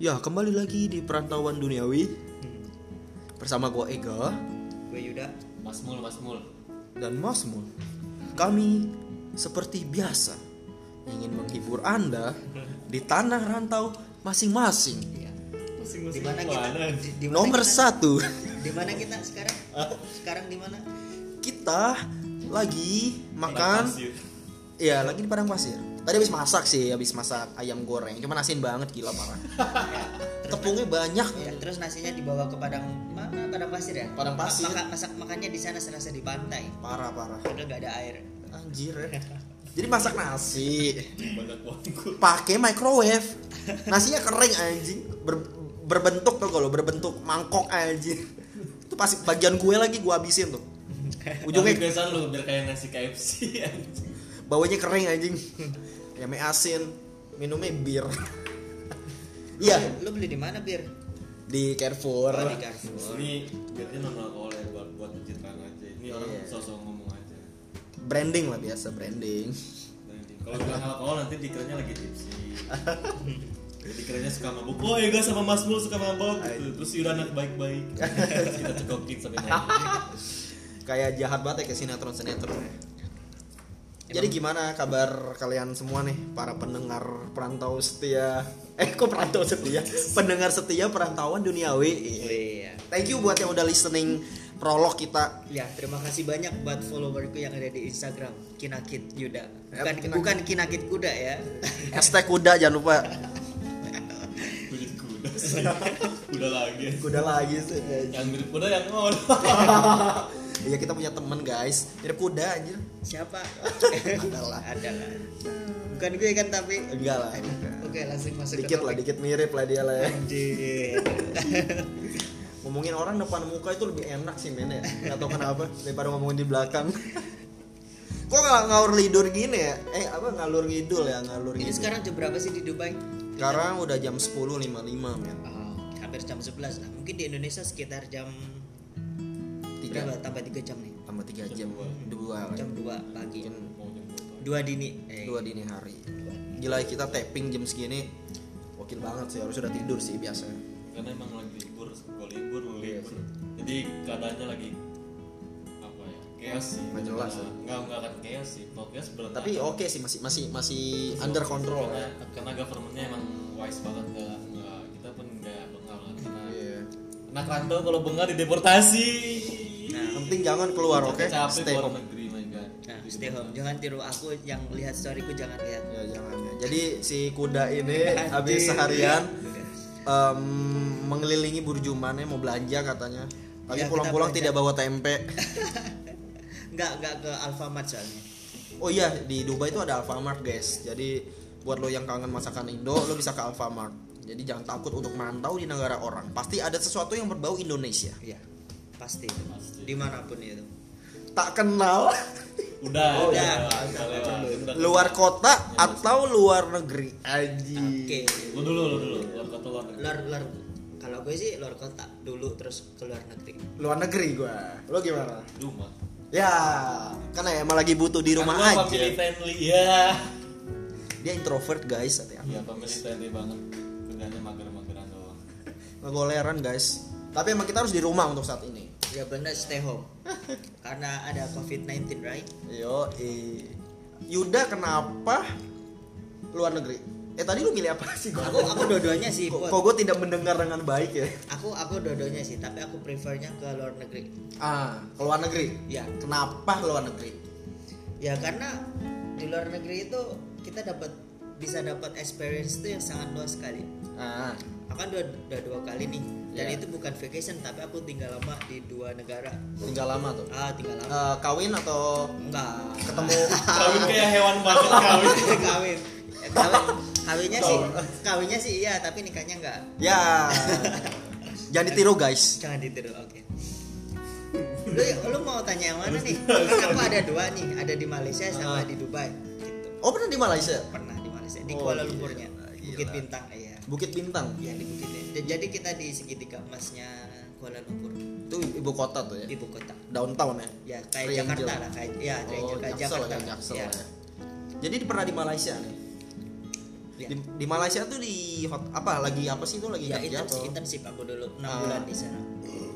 Ya, kembali lagi di Perantauan Duniawi bersama gue Ega Gue Yuda. Mas Mul, Mas Mul. dan Mas Mul. Kami seperti biasa ingin menghibur Anda di tanah rantau masing-masing. Iya. Di Masing-masing mana kita? mana? Di, di mana Nomor kita- satu, Di mana kita sekarang? Sekarang di mana? kita lagi makan Masih. Iya, lagi di padang pasir. Tadi habis masak sih, habis masak ayam goreng. Cuman asin banget gila parah. Ya. Terus, Tepungnya banyak. ya, terus nasinya dibawa ke padang mana? Padang pasir ya? Padang pasir. Maka, masak makannya di sana serasa di pantai. Parah-parah. Padahal nggak ada air. Anjir. ya. Jadi masak nasi, Banyak bangku. pakai microwave nasinya kering anjing Ber- berbentuk tuh kalau berbentuk mangkok anjing itu pasti bagian gue lagi gue habisin tuh Tapi ujungnya biasa lu biar kayak nasi KFC anjing. bawahnya kering anjing ayamnya asin minumnya bir iya Lu beli di mana bir? di Carrefour Oh, di Carrefour. Ini biarnya non alkohol ya buat buat pencitraan aja. Ini orang Iya. sosok ngomong aja. branding lah biasa branding Nah, ini. Kalau bilang alkohol nanti dikiranya lagi tipsi. dikiranya suka mabuk. Oh Ega sama Mas Mul suka mabuk gitu. Terus Yuda anak baik-baik. Terus kita cekokin sampai mabuk. kayak jahat banget ya kayak sinetron sinetron jadi gimana kabar kalian semua nih para pendengar perantau setia eh kok perantau setia pendengar setia perantauan duniawi Oh, iya. Thank you buat yang udah listening prolog kita. Ya, terima kasih banyak buat followerku yang ada di Instagram Kinakit Yuda. Ya, Bukan Kinakit. bukan Kinakit kuda ya. Hashtag kuda jangan lupa. Gue jadi kuda sih. Kuda lagi. Kuda lagi sih. Yang mirip kuda yang ngono. Iya kita punya temen guys. Jadi kuda anjir. Siapa? Adalah. Adalah. Bukan gue kan tapi. Enggak lah. Oke, langsung masuk Dikit ke lah, topik. dikit mirip lah dia lah ya. Anjir. Ngomongin orang depan muka itu lebih enak sih men ya. Gak tau kenapa daripada ngomongin di belakang. Kok nggak ngawur lidur gini ya? Eh apa ngalur ngidul ya ngalur Ini ngidul. sekarang jam berapa sih di Dubai? Sekarang udah jam 10.55 men. Oh, hampir jam 11 lah. Mungkin di Indonesia sekitar jam Tiga. berapa? Tambah 3 jam nih. Tambah 3 jam. Dua. 2 Jam 2 pagi. Mungkin 2 dini. Eh, dua dini hari gila kita tapping jam segini wakil banget sih harus sudah tidur sih biasanya karena emang lagi libur gue libur lu Iya libur jadi keadaannya lagi apa ya chaos sih Nggak jelas ya. Nah, nggak nggak akan chaos sih kalau chaos berantakan tapi oke sih masih masih masih under control ya. karena, karena governmentnya emang wise banget nggak nggak kita pun nggak bengal kan karena Iya. anak rantau kalau bengal dideportasi yang penting jangan keluar Nah, oke Capek stay keluar home negeri my god Nah, stay home. Jangan tiru aku yang lihat storyku jangan lihat. ya jangan ya. jadi si kuda ini Anjing. habis seharian em, mengelilingi burjumannya mau belanja katanya tapi Ya, kita pulang-pulang belanja. tidak bawa tempe Enggak, enggak ke Alfamart soalnya. oh iya di Dubai itu ada Alfamart guys jadi buat lo yang kangen masakan Indo lo bisa ke Alfamart jadi jangan takut untuk mantau di negara orang pasti ada sesuatu yang berbau Indonesia Iya. Pasti. Dimanapun itu. tak kenal udah Oh, udah, iya. udah lewat. Udah. luar kota atau luar negeri Iya, Oke. aji lu dulu lu dulu luar kota luar negeri Luar luar kalau gue sih luar kota dulu terus ke luar negeri. luar negeri gua lo gimana rumah ya karena emang lagi butuh di rumah Aku aja family friendly ya dia introvert guys hati-hati Iya, family friendly banget. Kerjanya mager-mageran doang. ngegoleran guys tapi emang kita harus di rumah untuk saat ini Ya benar stay home. Karena ada COVID-19, right? yo Yuda kenapa luar negeri eh tadi lu milih apa sih Aku gua aku dua-duanya sih. kok, Put. kok gue tidak mendengar dengan baik ya aku aku dua-duanya sih tapi aku prefernya ke luar negeri ah ke luar negeri ya kenapa ke luar negeri ya karena di luar negeri itu kita dapat bisa dapat experience itu yang sangat luas sekali ah akan dua, dua, dua kali nih dan Ya. itu bukan vacation tapi aku tinggal lama di dua negara tinggal lama tuh ah tinggal lama Eh, kawin atau enggak ketemu Kawin kayak hewan banget kawin. kawin Ya, kawin kawinnya sih kawinnya sih iya tapi nikahnya enggak ya jangan ditiru guys jangan ditiru oke lu, lu mau tanya yang mana nih kan aku ada dua nih ada di Malaysia sama Ah. di Dubai gitu oh pernah di Malaysia pernah di Malaysia di Oh, Kuala gila, Lumpurnya gila. Bukit Bintang iya Bukit Bintang iya di Bukit Bintang jadi kita di segitiga emasnya Kuala Lumpur itu ibu kota tuh ya ibu kota downtown ya ya kayak Triangle. Jakarta lah kayak ya oh Triangle, kayak Jaksel ya Jakarta lah. Jaksel ya. ya. jadi pernah di Malaysia nih Di, di Malaysia tuh di hot apa lagi apa sih itu lagi ya kerja internship, atau? internship aku dulu 6 Ah. bulan di sana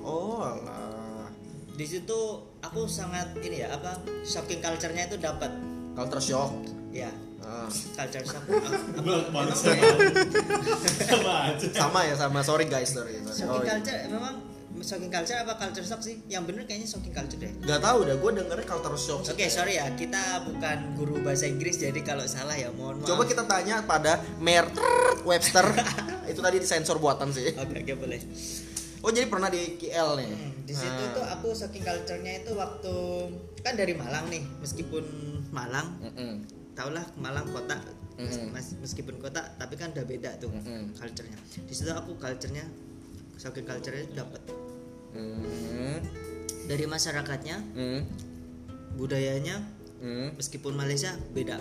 Oh alah. di situ aku sangat ini ya apa shocking culture-nya itu dapat Culture shock. ya Ah, culture shock Ah, apa- Gue balik memang sama kayak- sama aja. sama ya sama sorry guys sorry. sorry. shocking Oh, iya. culture memang shocking culture apa culture shock sih yang bener kayaknya shocking culture deh Gak tau dah, gue dengernya culture shock. sih. Oke, sorry ya, kita bukan guru bahasa Inggris jadi kalau salah ya mohon maaf. Coba kita tanya pada Mayor Webster. itu tadi disensor buatan sih. Oke, oke boleh. Oh jadi pernah di KL nih. Hmm, di situ Ah. tuh aku shocking culture-nya itu waktu kan dari Malang nih, meskipun Malang, Mm-mm. taulah Malang kota, mes- Mm-mm. mes- meskipun kota tapi kan udah beda tuh Mm-mm. culture-nya. Di situ aku culture-nya shocking culture-nya dapat Mm-mm. dari masyarakatnya, Mm. budayanya Mm. meskipun Malaysia beda.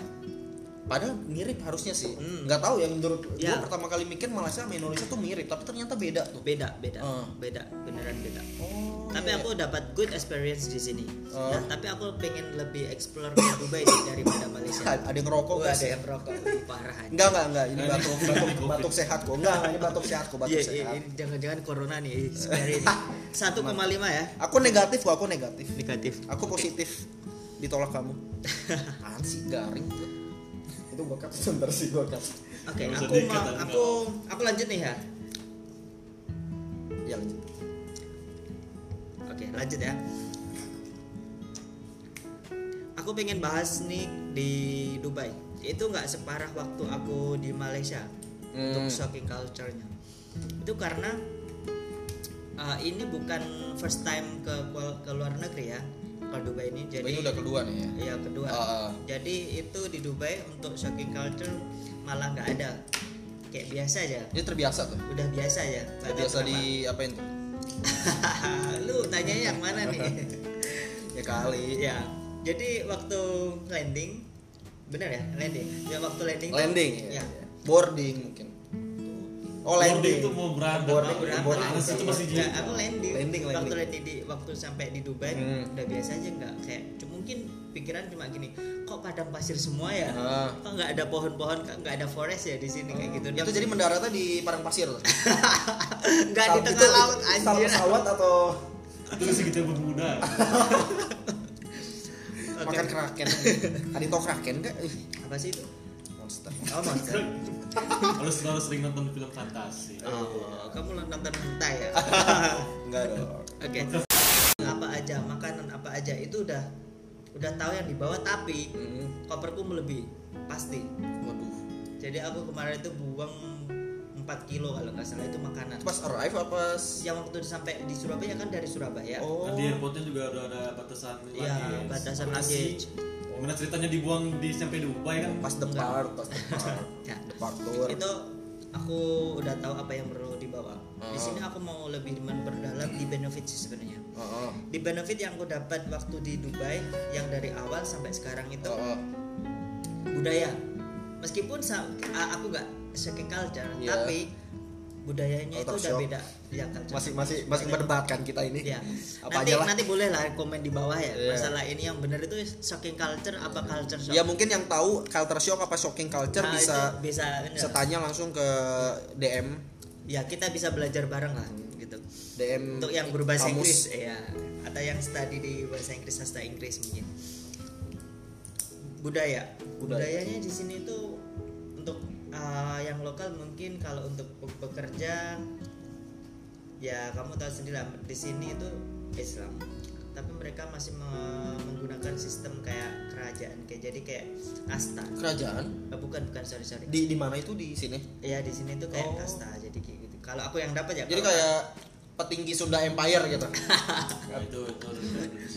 Padahal mirip harusnya sih. Hmm. Nggak tahu ya menurut Ya. gua pertama kali mikir Malaysia sama Indonesia tuh mirip, tapi ternyata beda tuh. Beda, beda. Ah. Beda, beneran beda. Oh. tapi iya. aku dapat good experience di sini. Oh. Nah, tapi aku pengen lebih explore ke Dubai sih daripada Malaysia. ada yang ngerokok Wah, nggak ada sih? yang rokok Wih, parah aja. Enggak enggak enggak ini Nah, ini batuk COVID, batuk, ini COVID. batuk sehat kok. Enggak enggak, ini batuk sehat kok, batuk Iya, iya, sehat. Iya. ini jangan-jangan corona nih, spare ini. 1,5 ya. Aku negatif kok, aku negatif. Negatif. Aku positif ditolak kamu. Apaan sih garing tuh. Itu gua cut sebentar sih gua cut. Oke, Nggak usah aku diikat, mau tapi aku aku lanjut nih ya. Ya lanjut. Oke, lanjut ya. Aku pengen bahas nih di Dubai. Itu nggak separah waktu aku di Malaysia untuk Hmm. shocking culture-nya. Itu karena uh, ini bukan first time ke ke luar negeri ya. Ke Dubai Oh, ini jadi ini udah kedua nih ya. ya kedua. Ah, ah. Jadi itu di Dubai untuk shocking culture malah nggak ada. Kayak biasa aja. Ini terbiasa tuh. Udah biasa aja. Nggak tahu Terbiasa kenapa. di apain tuh? Lu tanya yang mana nih? Ya kali. Ya, jadi waktu landing, benar ya landing. Ya waktu landing. tuh- Landing ya. Ya. Boarding mungkin. Oh landing. Boarding tuh mau berantem. Boarding, apa? boarding. Mana sih itu masih di Ya, aku landing. Landing, Waktu landing. landing di waktu sampai di Dubai Hmm. udah biasa aja nggak kayak cuma mungkin pikiran cuma gini kok padang pasir semua ya Ah. kok nggak ada pohon-pohon kok nggak ada forest ya di sini kayak gitu Itu jadi mendaratnya di padang pasir. nggak di Itu- tengah itu- laut sama anjir pesawat atau terus kita bermuda. Oke. makan kraken. Tadi tau kraken enggak? apa sih itu Monster. oh monster Harus harus sering nonton film fantasi. oh, kamu nonton hentai ya Enggak dong. Oke. Apa aja makanan apa aja itu udah udah tahu yang dibawa tapi Hmm. koperku melebih pasti. Waduh. Jadi aku kemarin itu buang 4 kilo kalau nggak salah itu makanan. Pas arrive apa? s- Yang waktu sampai di Surabaya kan dari Surabaya. Oh. Kan di airportnya juga udah ada batasan Iya, batasan Apa sih? luggage. Gimana ceritanya dibuang di sampai Dubai kan? Pas depart, pas depart. Ya. Depart tour. Itu aku udah tahu apa yang perlu dibawa. Di Oh. sini aku mau lebih memperdalam di benefit sih sebenarnya. Heeh. Di benefit yang aku dapat waktu di Dubai yang dari awal sampai sekarang itu Heeh. budaya meskipun sa- a- aku nggak shocking culture Iya. tapi budayanya itu Culture udah shock. beda ya culture Masih shock. masih masih berdebat kan kita ini. Iya. Apa nanti aja lah. nanti boleh lah komen di bawah ya Iya. masalah ini yang benar itu shocking culture apa culture shock Ya mungkin yang tahu culture shock apa shocking culture Nah, itu bisa bisa bener. bisa tanya langsung ke DM ya kita bisa belajar bareng lah gitu DM untuk yang berbahasa kamus. Inggris ya atau yang study di bahasa Inggris sastra Inggris mungkin budaya budayanya di sini tuh untuk uh, yang lokal mungkin kalau untuk pe- pekerja ya kamu tahu sendiri lah di sini itu Islam tapi mereka masih me- menggunakan sistem kayak kerajaan kayak jadi kayak kasta kerajaan Eh, bukan bukan sorry sorry di di mana itu di sini. ya di sini tuh kayak Oh. kasta jadi kayak gitu kalau aku yang dapat ya Jadi kalau- kayak petinggi Sunda Empire gitu. Nah, itu itu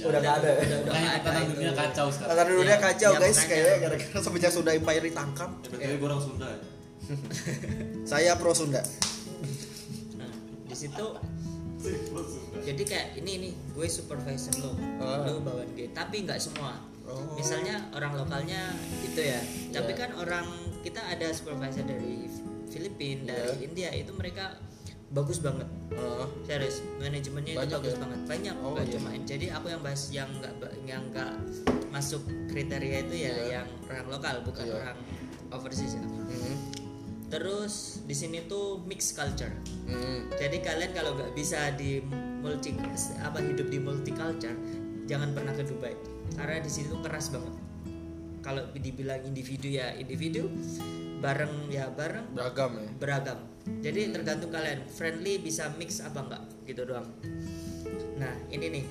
Udah nggak ada ya? Udah Udah nggak ada ada. itu. dunia kacau Karena sekarang. dunia Ya, kacau ya, guys makanya. kayak gara-gara semenjak Sunda Empire ditangkap. Ya, betul gue orang Sunda ya. Saya pro Sunda. Nah, di situ Orang Sunda. jadi kayak ini nih gue supervisor lo Ah. lo bawain gue tapi nggak semua Oh. misalnya orang lokalnya gitu ya tapi Iya. kan orang kita ada supervisor dari Filipina Iya. dari India itu mereka bagus banget Heeh. serius manajemennya itu Banyak bagus ya? banget banyak Oh, nggak iya. cuma jadi aku yang bahas yang nggak ba- yang nggak masuk kriteria itu ya Iya. yang orang lokal bukan Iya. orang overseas ya. Hmm. Terus di sini tuh mix culture. Hmm. Jadi kalian kalau nggak bisa di multi apa hidup di multicultural, jangan pernah ke Dubai. Karena di situ keras banget. Kalau dibilang individu ya individu, bareng ya bareng, beragam ya beragam. Jadi tergantung kalian friendly bisa mix apa enggak gitu doang. Nah, ini nih.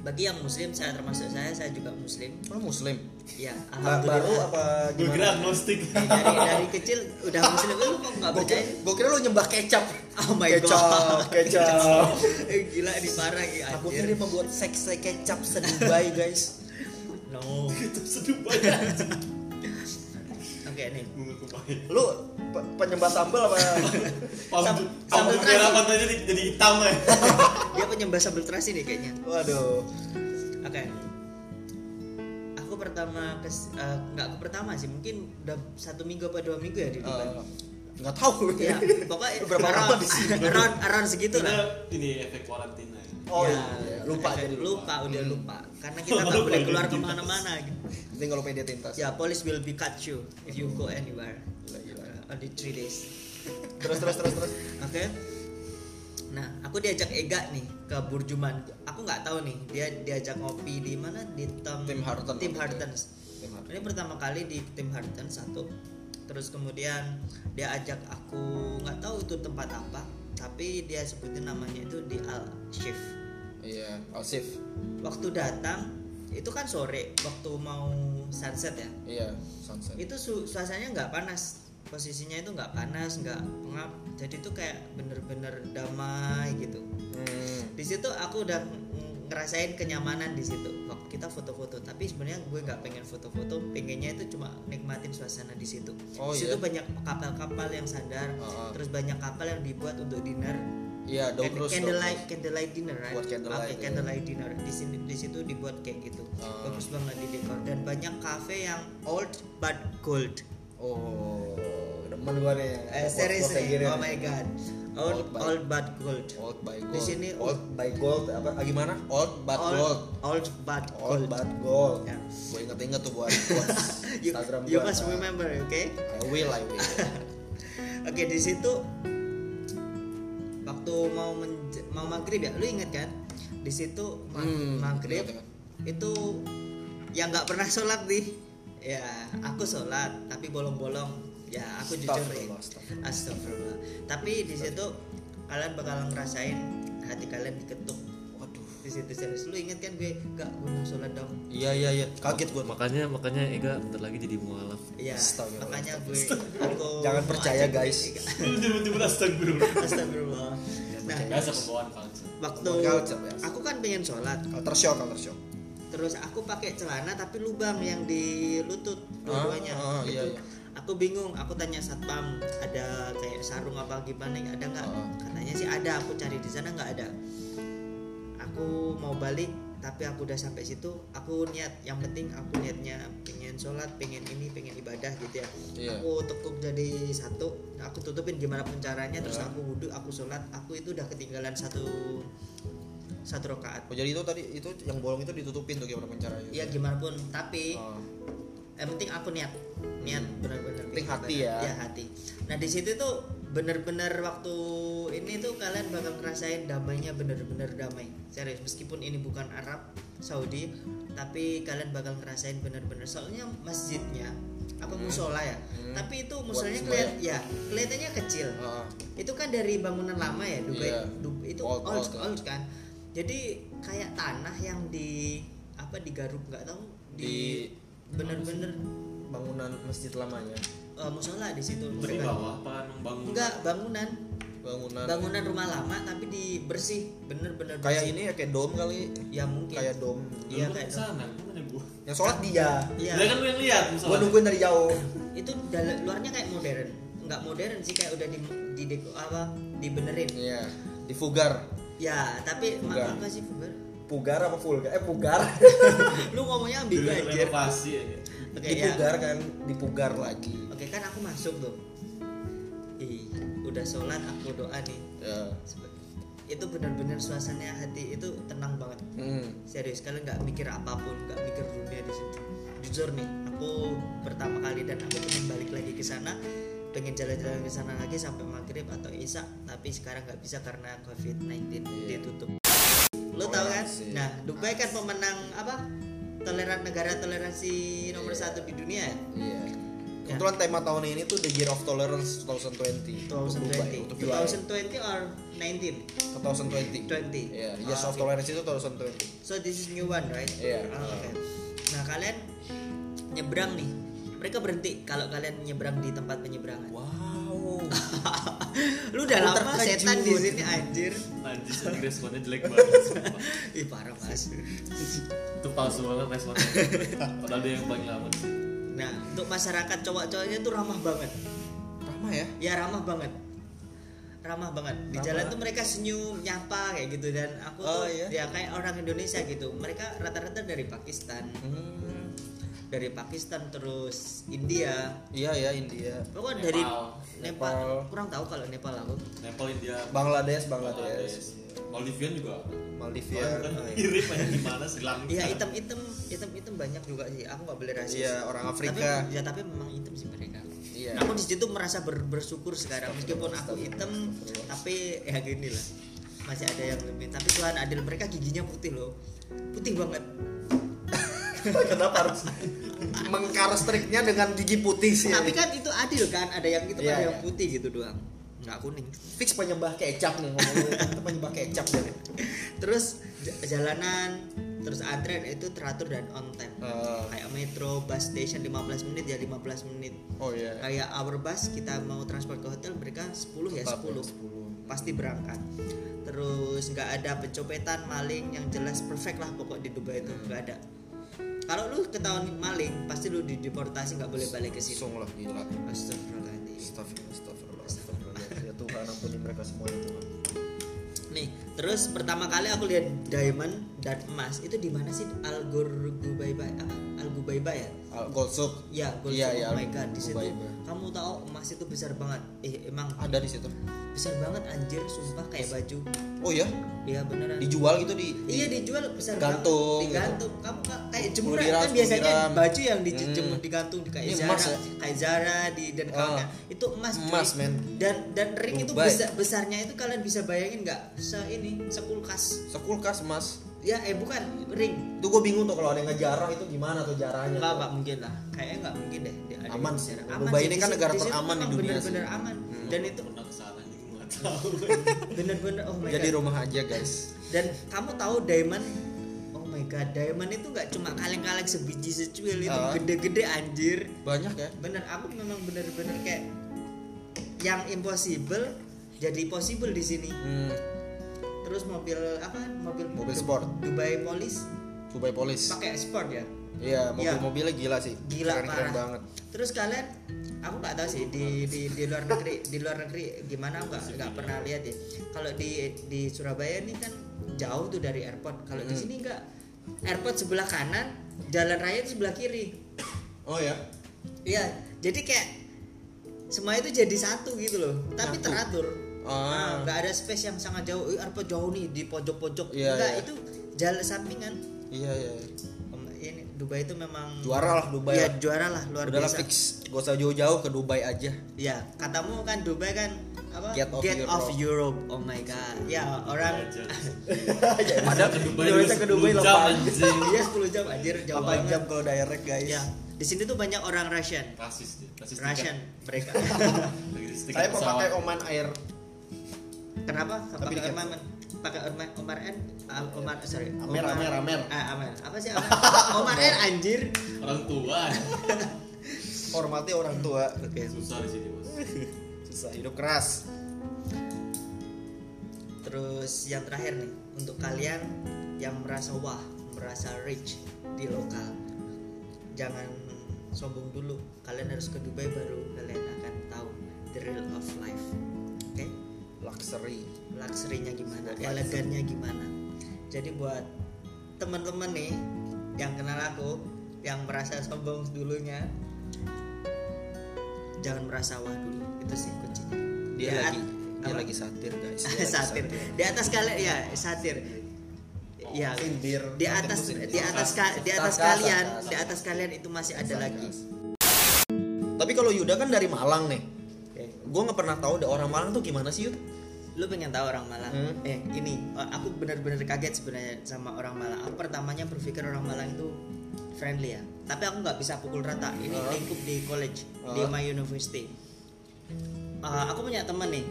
Bagi yang muslim saya termasuk saya saya juga muslim. oh, muslim Ya, Ba- baru alhamdulillah. apa Gue gimana? kira agnostik. Dari, dari kecil udah muslim lu kok enggak Gua percaya? kira, gua kira lu nyembah kecap Oh my kecap god. kecap Eh, Gila di parah ya aku anjir. ini membuat seks kecap sedubai guys No. Oke Itu seduh banget. nih. Gue kebayang. lu pe- penyembah sambal apa Sam- Pam- sambal Pam merah pantainya jadi- jadi hitam ya. Dia penyembah sambal terasi nih kayaknya. waduh Oke. Aku pertama kes eh, nggak aku pertama sih mungkin udah satu minggu apa dua minggu ya di Dubai. Eh, nggak tahu ya pokoknya Berapa around- lama di sini? around around segitu Karena lah ini efek karantina. ya. oh Ya, iya, iya. lupa efek- jadi lupa Hmm. lupa udah lupa karena kita Lupa nggak boleh identitas. keluar kemana-mana gitu. penting kalau media tintas ya police will be catch you if you go anywhere Uh, Gila, gila. only three days terus terus terus terus oke nah aku diajak Ega nih ke Burjuman aku nggak tahu nih dia diajak ngopi di mana di Tem- Tim Hortons. Tim Hortons. ini pertama kali di tim Harden satu terus kemudian dia ajak aku nggak tahu itu tempat apa tapi dia sebutin namanya itu di Al Shif iya Alsif waktu datang itu kan sore waktu mau sunset ya iya sunset itu su- suasananya nggak panas posisinya itu nggak panas nggak pengap jadi itu kayak bener-bener damai gitu hmm. di situ aku udah ng- ngerasain kenyamanan di situ Waktu kita foto-foto tapi sebenarnya gue nggak pengen foto-foto pengennya itu cuma nikmatin suasana di situ Oh, di iya. situ banyak kapal-kapal yang sadar Ah, ah. terus banyak kapal yang dibuat untuk dinner iya Can- Dog Cruise, Dog candlelight Cruise. candlelight dinner right Buat candlelight, Pakai iya. candlelight dinner di sini di situ dibuat kayak gitu Ah. bagus banget di dekor dan banyak cafe yang old but gold oh demen gua nih eh, Buat- buat serius kayak nih gini oh nih. my god old Old but- old but gold Old by gold. Di sini old by gold apa? Ah, gimana? Old but old gold. old but Old gold but gold. Ya. Gue inget-inget tuh buat, buat you, Instagram you gua. must Nah, remember, oke? I will, I will. Oke di situ waktu mau menj- mau maghrib ya, lu inget kan? Di situ ma- Hmm, maghrib ingat, itu yang nggak pernah sholat nih. Ya aku sholat tapi bolong-bolong. Ya aku jujur nih. Astagfirullah, astagfirullah. Astagfirullah. Tapi di situ kalian bakal ngerasain hati kalian diketuk. Waduh. Di situ serius lu inget kan gue gak gunung sholat dong Iya iya iya. Kaget gue. makanya makanya Ega bentar lagi jadi mualaf Iya, Astagfirullah. makanya gue aku Jangan mau percaya, ajak- guys. Tiba-tiba astagfirullah. Astagfirullah. Nah, Biasa pembawaan culture. waktu Culture, ya. aku kan pengen sholat, Culture shock, culture shock. terus aku pakai celana tapi lubang yang di lutut dua-duanya. Ah, ah, gitu. iya, iya. Aku bingung, aku tanya satpam ada kayak sarung apa gimana, ada nggak? Ah. Katanya sih ada, aku cari di sana nggak ada. Aku mau balik tapi aku udah sampai situ aku niat yang penting aku niatnya pengen sholat pengen ini pengen ibadah gitu ya Iya. aku tekuk jadi satu aku tutupin gimana pun caranya terus Ya. aku wudhu aku sholat aku itu udah ketinggalan satu satu rakaat Oh, jadi itu tadi itu yang bolong itu ditutupin tuh gimana caranya? ya gimana pun tapi Oh. yang penting aku niat niat benar-benar Penting niat hati benar. ya. hati nah di situ tuh bener-bener waktu ini tuh kalian bakal ngerasain damainya bener-bener damai serius meskipun ini bukan Arab Saudi tapi kalian bakal ngerasain bener-bener soalnya masjidnya apa musola ya Hmm. tapi itu Buat musolanya sembahyang. kelihat ya kelihatannya kecil Ah, itu kan dari bangunan lama ya Dubai Iya. Du- itu old Old, old, old, kan. kan jadi kayak tanah yang di apa digaruk nggak tahu di, Di- bener-bener bangunan masjid lamanya. eh, musola di situ Hmm, Beri bawah apa emang bangun? enggak bangunan Bangunan. bangunan rumah lama tapi di bersih bener-bener Kayak bersih. ini ya kayak dom kali. ya mungkin Kayak dom. iya Iya kayak kayak dong. sana. Gue nanya gue. Yang sholat dia. Iya. Lah kan lu yang lihat Gue misalnya. nungguin dari jauh. itu dal- luarnya kayak modern nggak modern sih kayak udah di di deko apa dibenerin Iya. Di Fugar. ya tapi ma- Enggak. apa sih Fuber? Pugar apa vulgar? Eh pugar. lu ngomongnya ambigu Dulu aja renovasi ya. Oke, ya. dipugar kan, dipugar lagi. Oke kan aku masuk tuh. Ih, udah sholat aku doa nih. Ya. Sebe- Itu benar-benar suasana hati itu tenang banget. Hmm. Serius kalian nggak mikir apapun, nggak mikir dunia di situ. Jujur nih, aku pertama kali dan aku pengen balik lagi ke sana pengen jalan-jalan ke sana lagi sampai maghrib atau isya tapi sekarang nggak bisa karena covid Iya. 19 ditutup lo tau kan Toleransi. nah Dubai kan pemenang apa toleran negara toleransi nomor Iya. satu di dunia ya? Iya. Kebetulan tema tahun ini tuh The Year of Tolerance 2020. Untuk Dubai, 2020 untuk Dubai. 2020 or 19 2020. 20 Iya, Years of Ah, oke. Tolerance itu 2020. So this is new one, right? Iya. Ah, oke. Nah kalian nyebrang nih. Mereka berhenti kalau kalian nyebrang di tempat penyeberangan. Wow. Lu udah Aku lama terkejut. setan di sini anjir. Anjis ini responnya jelek banget sumpah. Ih parah mas. Itu palsu banget responnya Padahal dia yang paling lama sih Nah untuk masyarakat cowok-cowoknya tuh ramah banget. Ramah ya? Ya ramah banget. Ramah banget. Di jalan tuh mereka senyum, nyapa kayak gitu dan aku Oh, tuh iya? ya kayak orang Indonesia gitu. Mereka rata-rata dari Pakistan, Hmm. dari Pakistan terus India. Iya ya India. Pokoknya Nepal. dari Nepal. Nepal. Kurang tahu kalau Nepal aku. Nepal India Iya, Bangladesh, Bangladesh Bangladesh. Maldivian juga Maldives. Kan Oh, iya. mirip aja gimana Sri Lanka Iya hitam hitam hitam hitam banyak juga sih. Aku nggak boleh rasis. Iya, orang Afrika. Tapi, ya tapi memang hitam sih mereka. Iya. Aku di situ merasa ber- bersyukur sekarang meskipun aku hitam tapi ya gini lah masih ada yang lebih. Tapi Tuhan adil mereka giginya putih loh, putih banget. Kenapa harus mengkar striknya dengan gigi putih sih? Tapi kan itu adil kan ada yang hitam Iya, ada iya. yang putih gitu doang, nggak kuning. fix penyembah kecap nih ngomong Itu penyembah kecap deh. Terus j- jalanan terus antrean itu teratur dan on time. Ah. Kayak metro, bus station 15 menit ya 15 menit. Oh iya. kayak our bus kita mau transport ke hotel mereka 10 ya Tetap 10, ya, pasti berangkat terus nggak ada pencopetan maling yang jelas perfect lah pokok di Dubai itu nggak ada kalau lu ketahuan maling pasti lu dideportasi nggak boleh balik ke sini Sungguh lah gila. Astagfirullahaladzim Astagfirullah, astagfirullah, astagfirullah. Ya Tuhan ampuni mereka semua ya Tuhan. nih terus pertama kali aku lihat diamond dan emas itu di mana sih Al Gurubaiba apa Al Gubaiba ya Al- Ah, Gold Soap. ya Gold Iya, Zone. iya, oh my god di situ Gurubaiba. kamu tahu emas itu besar banget eh emang ada di situ. besar banget anjir sumpah kayak baju Oh ya, Iya beneran. dijual gitu di. iya di- dijual besar Gantung, banget. digantung kamu ka- kayak jemuran diram, kan biasanya diram. baju yang dijemur Hmm. digantung di kayak Ini Zara emas ya? Oh. kayak Zara di dan kawannya itu emas cuy. Emas, men. dan dan ring itu Dubai. besar besarnya itu kalian bisa bayangin nggak se ini sekulkas Sekulkas mas. ya eh bukan ring Itu gue bingung tuh kalau ada yang ngejarah itu gimana tuh jarahnya. nggak tuh. nggak mungkin lah kayaknya nggak mungkin deh di- ada Aman yang sih. besar. Dubai sih, ini kan situ- negara situ teraman di emang dunia Hmm. bener-bener aman dan itu pernah kesana juga nggak tahu bener-bener oh my Jadi god rumah aja guys. dan kamu tahu diamond oh my god diamond itu nggak cuma kaleng-kaleng sebiji secuil itu Ah. gede-gede anjir Banyak ya. bener aku memang bener-bener kayak yang impossible jadi possible di sini Hmm, terus mobil apa mobil Mobil sport. Dubai Police Dubai Polis. pakai sport ya Iya, mobil-mobilnya gila sih. gila keren, parah keren banget. terus kalian aku nggak tahu sih di, di di luar negeri di luar negeri gimana aku nggak nggak pernah lihat ya kalau di di Surabaya nih kan jauh tuh dari airport kalau Hmm. di sini nggak airport sebelah kanan jalan raya itu sebelah kiri Oh ya. iya jadi kayak semua itu jadi satu gitu loh tapi Satu. teratur Ah. Nah, nggak ada space yang sangat jauh "Ih, airport jauh nih di pojok-pojok Iya, enggak iya. itu jalan sampingan Iya iya. Em, ini Dubai itu memang Juara lah Dubai Iya, lah. juara lah luar Udahlah biasa fix, gak usah jauh-jauh ke Dubai aja. Ya, katamu kan Dubai kan apa? Get of Europe. Europe. Oh my god. Ya, orang Aja. Padahal ke Dubai ya. Indonesia ke Dubai 10 jam, lah anjing. Iya 10 jam anjir jauh Apa banget. jam kalau direct guys? Ya, di sini tuh banyak orang Russian. rasis dia rasis Russian mereka. Saya mau pakai Oman Air. Kenapa? Tapi Pakai di- Orman. Pakai Orman Omar N ah, Omar sorry. Amer, Omar- Amer, Amer. Ah, Amer. Apa sih Amer? Omar N anjir. orang tua Hormati orang tua. Oke. susah di sini bos Nah. Susah hidup keras. Terus yang terakhir nih untuk kalian yang merasa wah, merasa rich di lokal. Jangan sombong dulu. Kalian harus ke Dubai baru kalian akan tahu the real of life. Oke? Luxury. Luxury-nya gimana, Luxury. elegannya gimana. Jadi buat teman-teman nih yang kenal aku, yang merasa sombong dulunya jangan merasa wah dulu. Itu sih kuncinya. Dia Jangan- lagi dia Iya. apa? lagi satir guys. Dia lagi satir Iya, di atas kalian ya satir ya Sindir. di atas Satir tuh di atas ka- di atas Sarkas, kalian sarkas. di atas kalian itu masih ada lagi Tapi kalau Yuda kan dari Malang nih. gue nggak pernah tahu deh orang Malang tuh gimana sih Yud? lu pengen tahu orang Malang Hmm. eh ini eh, aku benar-benar kaget sebenarnya sama orang Malang aku pertamanya berpikir orang Malang itu friendly ya tapi aku nggak bisa pukul rata ini Ah. lingkup di college di Ah. my university Eh, aku punya temen nih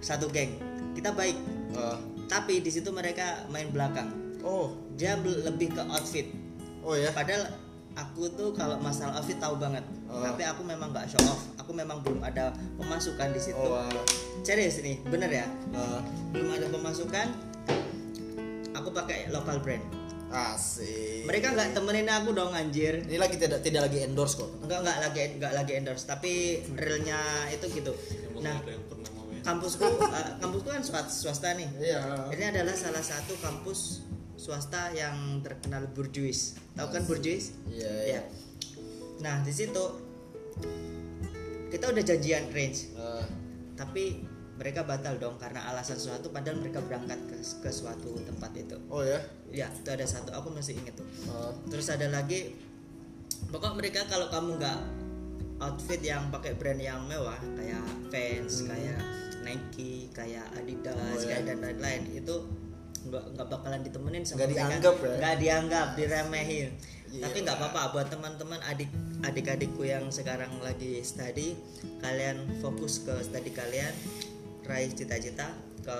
satu geng kita baik Eh, tapi di situ mereka main belakang oh, dia bel- lebih ke outfit oh ya. padahal aku tuh kalau masalah outfit tahu banget Oh. tapi aku memang nggak show off aku memang belum ada pemasukan di situ Oh, eh, serius nih bener ya eh, belum ada pemasukan aku pakai lokal brand asik. mereka nggak temenin aku dong anjir Ini lagi tidak tidak lagi endorse kok. nggak nggak lagi nggak lagi endorse tapi realnya itu gitu nah ada yang pernah mau ya kampusku eh, kampusku kan swasta, swasta nih Iya. ini adalah salah satu kampus swasta yang terkenal borjuis tahu kan borjuis Iya, iya. Iya. nah di situ kita udah janjian range Eh, tapi mereka batal dong karena alasan suatu padahal mereka berangkat ke, ke suatu tempat itu oh ya. ya itu ada satu aku masih inget tuh Eh, terus ada lagi pokok mereka kalau kamu nggak outfit yang pakai brand yang mewah kayak Vans Hmm. kayak Nike kayak Adidas Oh, ya. kayak dan lain-lain itu nggak nggak bakalan ditemenin sama Nggak mereka. dianggap ya? nggak dianggap diremehin Iya. tapi nggak apa-apa buat teman-teman adik adik-adikku yang sekarang lagi study kalian fokus ke study kalian raih cita-cita ke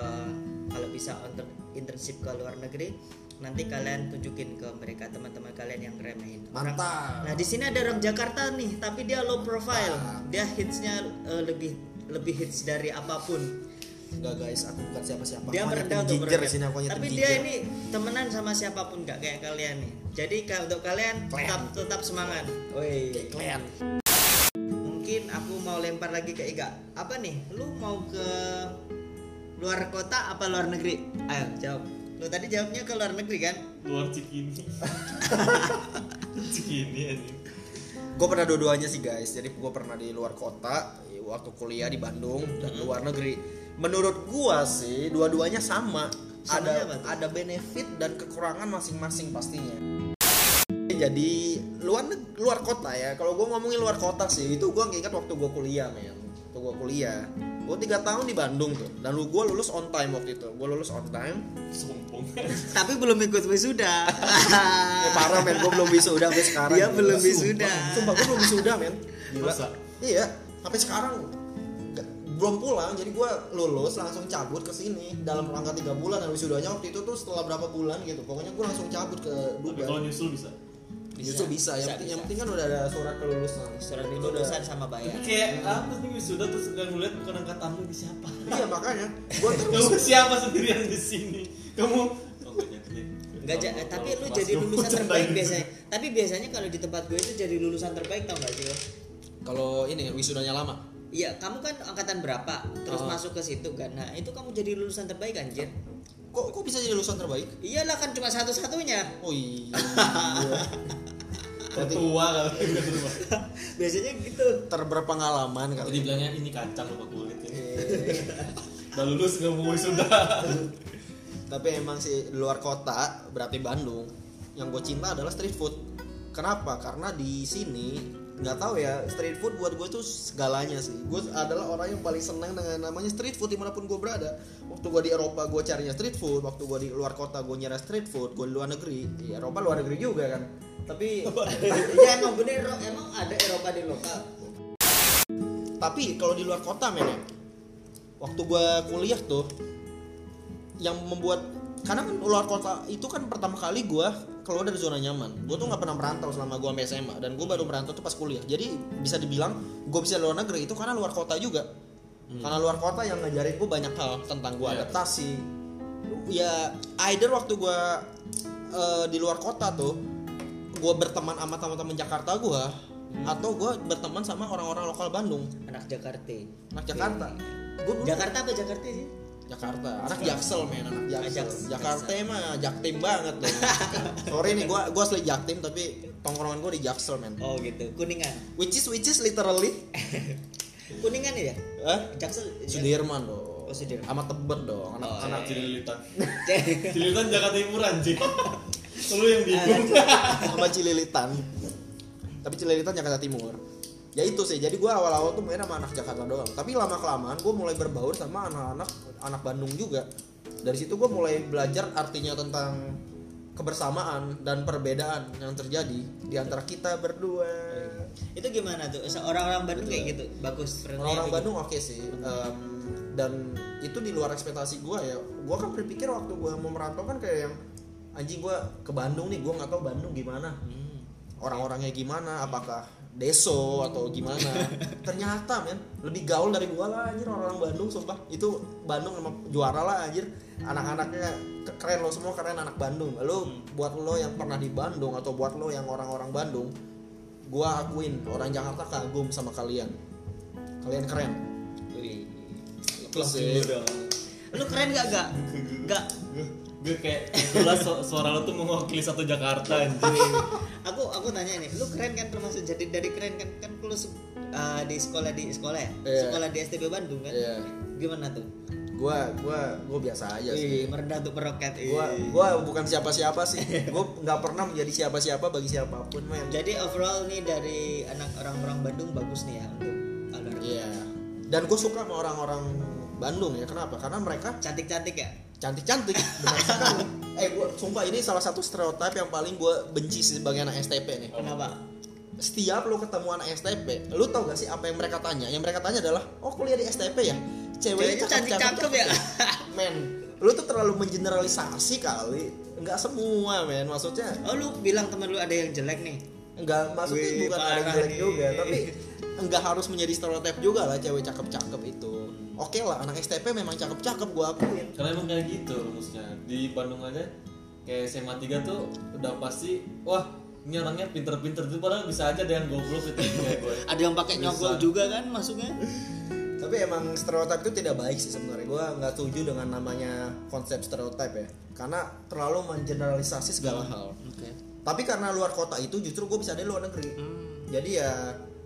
kalau bisa untuk internship ke luar negeri nanti kalian tunjukin ke mereka teman-teman kalian yang remehin Orang- mantap. Nah di sini ada orang Jakarta nih, tapi dia low profile. Mantap. Dia hitsnya eh, lebih lebih hits dari apapun. Enggak guys, aku bukan siapa-siapa. Aku Dia hanya merendah untuk penjinjer berkarya. di sini aku hanya Tapi penjinjer. dia ini temenan sama siapapun nggak kayak kalian nih. Jadi ka- untuk kalian tetap tetap semangat. Woi. Kalian. Mungkin aku mau lempar lagi ke Iga. Apa nih? Lu mau ke luar kota apa luar negeri? Ayo jawab. Lu tadi jawabnya ke luar negeri kan? luar cikini cikini ini Gue pernah dua-duanya sih guys. Jadi gue pernah di luar kota waktu kuliah di Bandung dan Hmm. luar negeri. Menurut gua sih dua-duanya sama. Samanya apa ada tuh? ada benefit dan kekurangan masing-masing pastinya. Jadi luar neg- luar kota ya. Kalau gua ngomongin luar kota sih itu gua ngingat waktu gua kuliah men. Waktu gua kuliah. Gue tiga tahun di Bandung tuh dan lu gue lulus on time waktu itu. Gue lulus on time. sombong Tapi belum ikut wisuda. Eh, parah men, gue belum wisuda sampai sekarang. Dia Gila. Iya, belum Sumpah. wisuda. Sumpah gue belum wisuda men. Gila. Masa? Iya, sampai sekarang Nggak- belum pulang. Jadi gue lulus langsung cabut ke sini dalam rangka tiga bulan dan wisudanya waktu itu tuh setelah berapa bulan gitu. Pokoknya gue langsung cabut ke tapi kalau Dubai. nyusul bisa Justru bisa, yang, penting, yang penting kan udah ada surat kelulusan. Surat Dan itu kelulusan udah- sama bayar. tapi kayak apa sih wisuda terus nggak ngeliat bukan angkatanmu ini siapa Iya makanya gue kamu siapa sendirian di sini kamu oh, nggak jadi. Enggak, ja- eh, tapi lu Mas, jadi gua lulusan bercandain. terbaik biasanya. Tapi biasanya kalau di tempat gue itu jadi lulusan terbaik tau gak sih lo? kalau ini wisudanya lama. Iya, kamu kan angkatan berapa? Terus Oh. masuk ke situ kan. Nah, itu kamu jadi lulusan terbaik anjir. Kok kok bisa jadi lulusan terbaik? Iyalah kan cuma satu-satunya. Oh iya. Berarti ketua kali Biasanya gitu. terberpengalaman kali. ya. jadi bilangnya ini kacang lupa kulit ini Iya. udah lulus nggak mau wisuda Oh, Tapi emang sih di luar kota berarti Bandung. Yang gue cinta adalah street food. Kenapa? Karena di sini nggak tahu ya street food buat gue tuh segalanya sih. Gue adalah orang yang paling senang dengan namanya street food dimanapun gue berada. Waktu gue di Eropa gue carinya street food. Waktu gue di luar kota gue nyari street food. Gue di luar negeri. Di Eropa luar negeri juga kan. Tapi ya emang bener Ro. emang ada Eropa di lokal. tapi kalau di luar kota men ya, waktu gua kuliah tuh yang membuat karena kan luar kota itu kan pertama kali gua keluar dari zona nyaman gue tuh nggak pernah merantau selama gua sampai SMA dan gue baru merantau tuh pas kuliah jadi bisa dibilang gue bisa luar negeri itu karena luar kota juga karena luar kota yang ngajarin gue banyak hal tentang gua Iya. adaptasi ya either waktu gua eh, di luar kota tuh gue berteman sama teman-teman Jakarta gua atau gue berteman sama orang-orang lokal Bandung Anak Jakarta. anak Jakarta gue Iya. Jakarta apa Jakarta sih? Jakarta anak Jaksel men anak Jaksel Ajak- Jakarta mah Jaktim banget loh sorry nih gue gue asli Jaktim tapi tongkrongan gue di Jaksel men Oh gitu, Kuningan. which is which is literally Kuningan ya? eh Jaksel. Sudirman dong Iya. Oh, Sudirman. sama Tebet dong anak Oh, anak anak cililitan Jaksel. cililitan Jakarta Timur anjing lu yang bingung Iya. sama Cililitan tapi Cililitan Jakarta Timur ya itu sih jadi gue awal-awal tuh main sama anak Jakarta doang tapi lama kelamaan gue mulai berbaur sama anak-anak anak Bandung juga dari situ gue mulai belajar artinya tentang kebersamaan dan perbedaan yang terjadi di antara kita berdua itu gimana tuh orang-orang Bandung kayak gitu bagus friendly orang-orang apa Bandung oke sih Em, dan itu di luar ekspektasi gue ya gue kan berpikir waktu gue mau merantau kan kayak yang anjing gue ke Bandung nih gue nggak tahu Bandung gimana gitu? Hmm. orang-orangnya gimana apakah deso atau gimana ternyata men lebih gaul dari gua lah anjir orang-orang Bandung sumpah itu Bandung emang juara lah anjir anak-anaknya ke- keren lo semua keren anak Bandung Hmm. lo buat lo yang pernah di Bandung atau buat lo yang orang-orang Bandung gua akuin orang Jakarta kagum sama kalian kalian keren gitu. Wih. itu sih lu keren gak gak gak Gue kayak jelas su- suara lo tuh mewakili satu Jakarta anjir. aku aku tanya nih lu keren kan termasuk jadi dari keren kan kan lu se- uh, di sekolah di sekolah ya Iya. sekolah di STB Bandung kan Iya. gimana tuh gua gua gua biasa aja sih Wih, merendah untuk meroket Wih. gua gua bukan siapa-siapa sih gua nggak pernah menjadi siapa-siapa bagi siapapun men jadi overall nih dari anak orang-orang Bandung bagus nih ya untuk alur Iya. Dan gue suka sama orang-orang Bandung ya. Kenapa? Karena mereka cantik-cantik ya cantik-cantik. benar sekali. eh gue sumpah ini salah satu stereotip yang paling gue benci sih sebagai anak STP nih. kenapa Setiap lu ketemu anak STP, lu tau gak sih apa yang mereka tanya? Yang mereka tanya adalah, oh kuliah di STP ya? Ceweknya Ceweknya cakep-cakep cakep-cakep ya?" men, lu tuh terlalu mengeneralisasi kali. Enggak semua men, maksudnya oh lu bilang temen lu ada yang jelek nih enggak maksudnya Wih, bukan ada yang parah jelek nih. juga tapi enggak harus menjadi stereotip juga lah cewek cakep-cakep itu oke lah anak STP memang cakep-cakep gua akuin Karena emang kayak gitu rumusnya Di Bandung aja kayak SMA 3 tuh udah pasti Wah ini orangnya pinter-pinter tuh padahal bisa aja ada yang goblok gitu kayak Iya. gue ada yang pakai nyogol Bisa. juga kan masuknya tapi emang stereotip itu tidak baik sih sebenarnya gua nggak setuju dengan namanya konsep stereotip ya karena terlalu mengeneralisasi segala hal oke tapi karena luar kota itu justru gue bisa dari luar negeri Hmm. jadi ya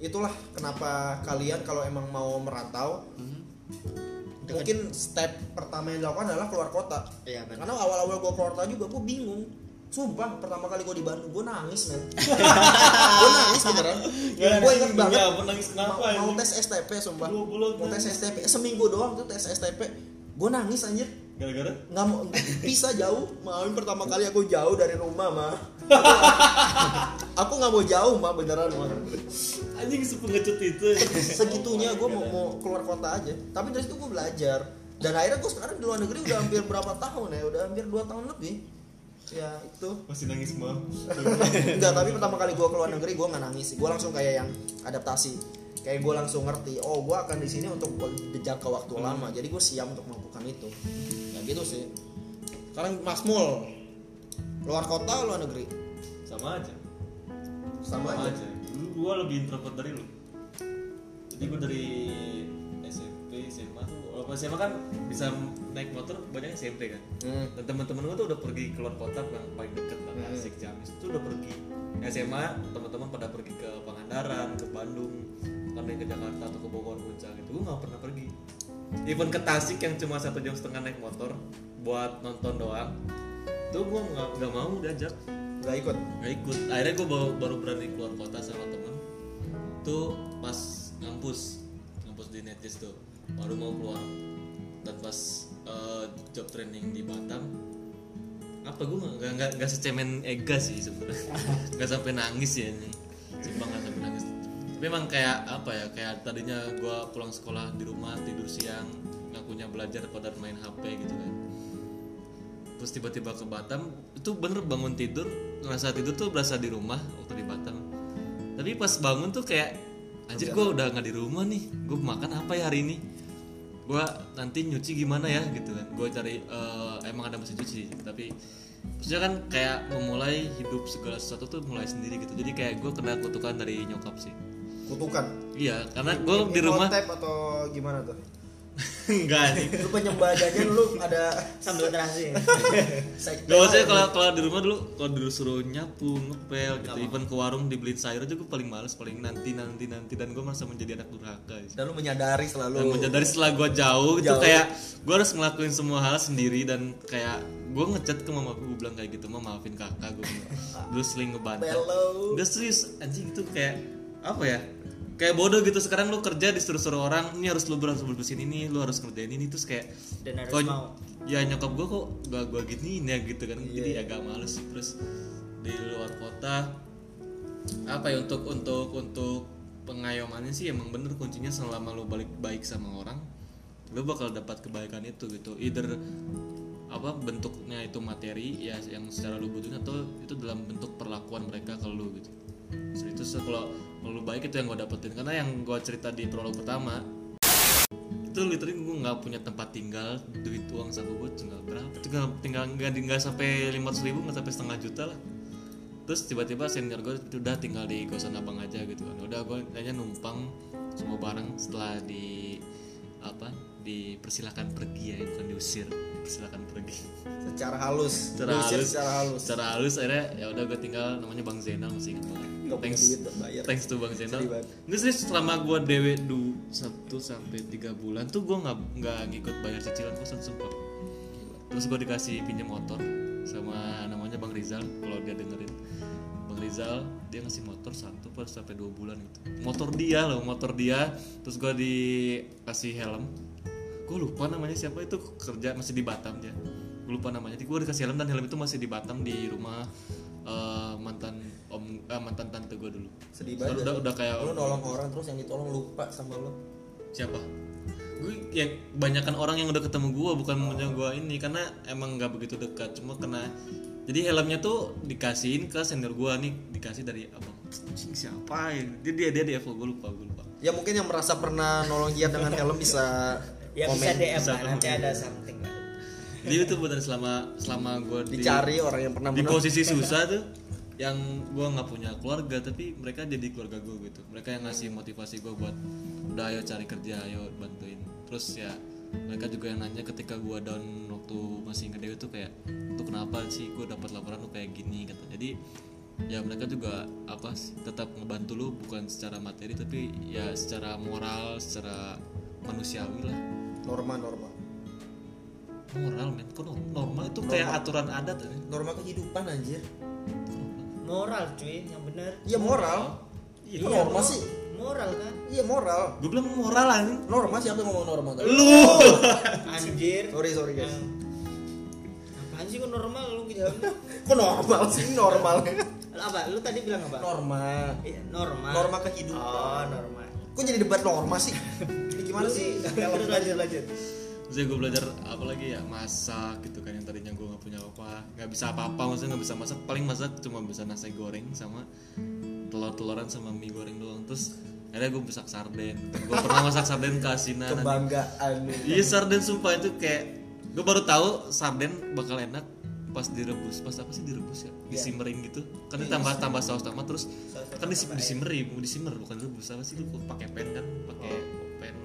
itulah kenapa kalian kalau emang mau merantau mungkin step pertama yang dilakukan adalah keluar kota Iya, benar. karena awal-awal gue keluar kota juga gue bingung sumpah pertama kali gue di Bandung gue nangis men gue nangis beneran gue inget Iya, banget Ya ampun nangis mau, kenapa mau ini? tes STP sumpah Goblok, mau tes STP seminggu doang tuh tes STP gue nangis anjir Gara-gara? nggak mau pisah jauh mami pertama kali aku jauh dari rumah mah aku nggak mau jauh mah beneran mah Anjing sepengecut itu segitunya gue mau, mau keluar kota aja tapi dari situ gue belajar dan akhirnya gue sekarang di luar negeri udah hampir berapa tahun ya udah hampir dua tahun lebih ya itu Masih nangis mau Enggak, tapi pertama kali gue keluar negeri gue nggak nangis sih. Gue langsung kayak yang adaptasi. Kayak gue langsung ngerti, oh gue akan di sini untuk jangka waktu lama. Jadi gue siap untuk melakukan itu. Hmm. Ya gitu sih. Sekarang Mas Mul, luar kota luar negeri Sama aja sama aja. Sama aja Dulu gue lebih introvert dari lu Jadi gue dari SMP, SMA tuh Walaupun SMA kan bisa naik motor banyak SMP kan Hmm. dan teman-teman gue tuh udah pergi keluar kota yang paling deket lah Tasik Ciamis itu udah pergi SMA teman-teman pada pergi ke Pangandaran ke Bandung kan yang ke Jakarta atau ke Bogor Puncak gitu gue nggak pernah pergi even ke Tasik yang cuma satu jam setengah naik motor buat nonton doang tuh gue nggak nggak mau diajak Gak ikut. nggak ikut akhirnya gue baru, baru berani keluar kota sama temen tuh pas ngampus ngampus di Netjes tuh baru mau keluar dan pas eh, job training di Batam apa gue nggak nggak nggak secemen Ega sih sebenarnya nggak sampai nangis ya ini sumpah nggak sampai nangis tapi emang kayak apa ya kayak tadinya gue pulang sekolah di rumah tidur siang ngakunya belajar pada main HP gitu kan terus tiba-tiba ke Batam itu bener bangun tidur ngerasa tidur tuh berasa di rumah waktu di Batam tapi pas bangun tuh kayak anjir gue udah nggak di rumah nih gue makan apa ya hari ini gue nanti nyuci gimana ya gitu kan gue cari eh, emang ada mesin cuci tapi maksudnya kan kayak memulai hidup segala sesuatu tuh mulai sendiri gitu jadi kayak gue kena kutukan dari nyokap sih Kutukan. iya karena gue di Infotep rumah atau gimana tuh? enggak nih Lu penyembah jajan lu ada sambil terasi sekte. Gak maksudnya kalau kalau di rumah dulu kalau disuruh nyapu, ngepel gitu, even ke warung dibeliin sayur aja gue paling males, paling nanti nanti nanti dan gue merasa menjadi anak durhaka. gitu. Dan lu menyadari selalu. Dan menja- dari setelah gue jauh, itu Jauh. kayak gue harus ngelakuin semua hal sendiri dan kayak gue ngechat ke mama gue bilang kayak gitu, mama maafin kakak gue. dulu sering ngebantah. Bello. Gak serius anjing itu kayak apa ya? kayak bodoh gitu sekarang lu kerja disuruh-suruh orang ini harus lu harus bersihin ini lu harus ngerjain ini terus kayak Dan harus kok- mau. Iya. ya nyokap gua kok gak gua giniin ya gitu kan jadi agak males terus di luar kota apa ya untuk untuk untuk pengayomannya sih emang bener kuncinya selama lu balik baik sama orang lu bakal dapat kebaikan itu gitu either apa bentuknya itu materi ya yang secara lu butuhin atau itu dalam bentuk perlakuan mereka ke lu gitu So, itu se- kalau kalau lu baik itu yang gue dapetin karena yang gue cerita di prolog pertama itu literally gue nggak punya tempat tinggal duit uang saku gue tinggal berapa tinggal tinggal nggak nggak sampai lima ribu nggak sampai setengah juta lah terus tiba-tiba senior gue udah tinggal di kosan abang aja gitu kan udah gue hanya numpang semua barang setelah di apa dipersilakan pergi ya bukan diusir dipersilakan pergi secara halus secara Diusir halus secara halus secara halus akhirnya ya udah gue tinggal namanya bang Zainal masih ingat banget Nggak punya thanks duit buat bayar. thanks to bang Zainal Sedih banget. ini serius selama gue dewe du satu sampai tiga bulan tuh gue nggak nggak ngikut bayar cicilan kosan sumpah terus gue dikasih pinjam motor sama namanya bang Rizal kalau dia dengerin bang Rizal dia ngasih motor satu per sampai dua bulan gitu motor dia loh motor dia terus gue dikasih helm gue lupa namanya siapa itu kerja masih di Batam ya gue lupa namanya jadi gue dikasih helm dan helm itu masih di Batam di rumah eh, mantan om eh, mantan tante gue dulu sedih banget Soalnya ya. udah udah kayak lu nolong orang terus yang ditolong lupa sama lu siapa gue ya banyakkan orang yang udah ketemu gue bukan punya gue ini karena emang nggak begitu dekat cuma kena jadi helmnya tuh dikasihin ke senior gue nih dikasih dari abang "Cing, siapa ya dia dia dia, dia gue lupa gue lupa ya mungkin yang merasa pernah nolong dia dengan helm bisa ya Iya. komen bisa DM bisa lah nanti ada something lah jadi itu benar selama selama gue dicari orang yang pernah di menolong posisi susah tuh yang gue nggak punya keluarga tapi mereka jadi keluarga gue gitu mereka yang ngasih motivasi gue buat udah ayo cari kerja ayo bantuin terus ya mereka juga yang nanya ketika gue down waktu masih gede itu kayak tuh kenapa sih gue dapat laporan lu kayak gini kata jadi ya mereka juga apa sih, tetap ngebantu lu bukan secara materi tapi ya secara moral secara manusiawi lah norma norma moral men kok norm- norma itu kayak aturan adat eh? norma kehidupan anjir moral cuy yang bener iya moral iya norma bro. sih moral kan iya moral gue bilang moral anjing norma siapa yang ngomong norma tadi lu anjir Nah. sorry sorry guys apaan sih kok normal lu ngejawabnya kok normal sih normal Lu apa lu tadi bilang apa norma Iya, normal Norma kehidupan. oh normal kok jadi debat norma sih ini gimana sih Nah, terus lanjut lanjut Terus gue belajar apa lagi ya masak gitu kan yang tadinya gue nggak punya apa nggak bisa apa-apa maksudnya nggak bisa masak paling masak cuma bisa nasi goreng sama telur-teloran sama mie goreng doang terus akhirnya gue masak sarden gue pernah masak sarden ke asinan kebanggaan iya sarden sumpah itu kayak gue baru tahu sarden bakal enak pas direbus pas apa sih direbus ya disimmering gitu kan ditambah tambah saus tambah terus kan di disimmerin disimmer bukan direbus apa sih lu pakai pen kan pakai pen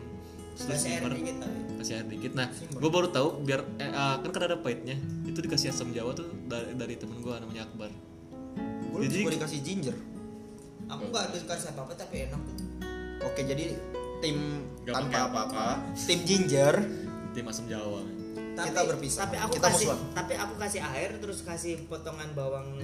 terus lu bahasa air simmer dikit tapi kasih air dikit nah gue baru tahu biar eh, ah, kan kadang ada pahitnya itu dikasih asam jawa tuh dari, dari temen gue namanya Akbar gue Jadi- juga dikasih ginger aku nggak ada kasih apa apa tapi enak tuh oke jadi tim Nggak tanpa pakai apa-apa apa-apa. tim ginger tim asam jawa tapi, Kita berpisah. tapi aku Kita kasih musuhan. tapi aku kasih air terus kasih potongan bawang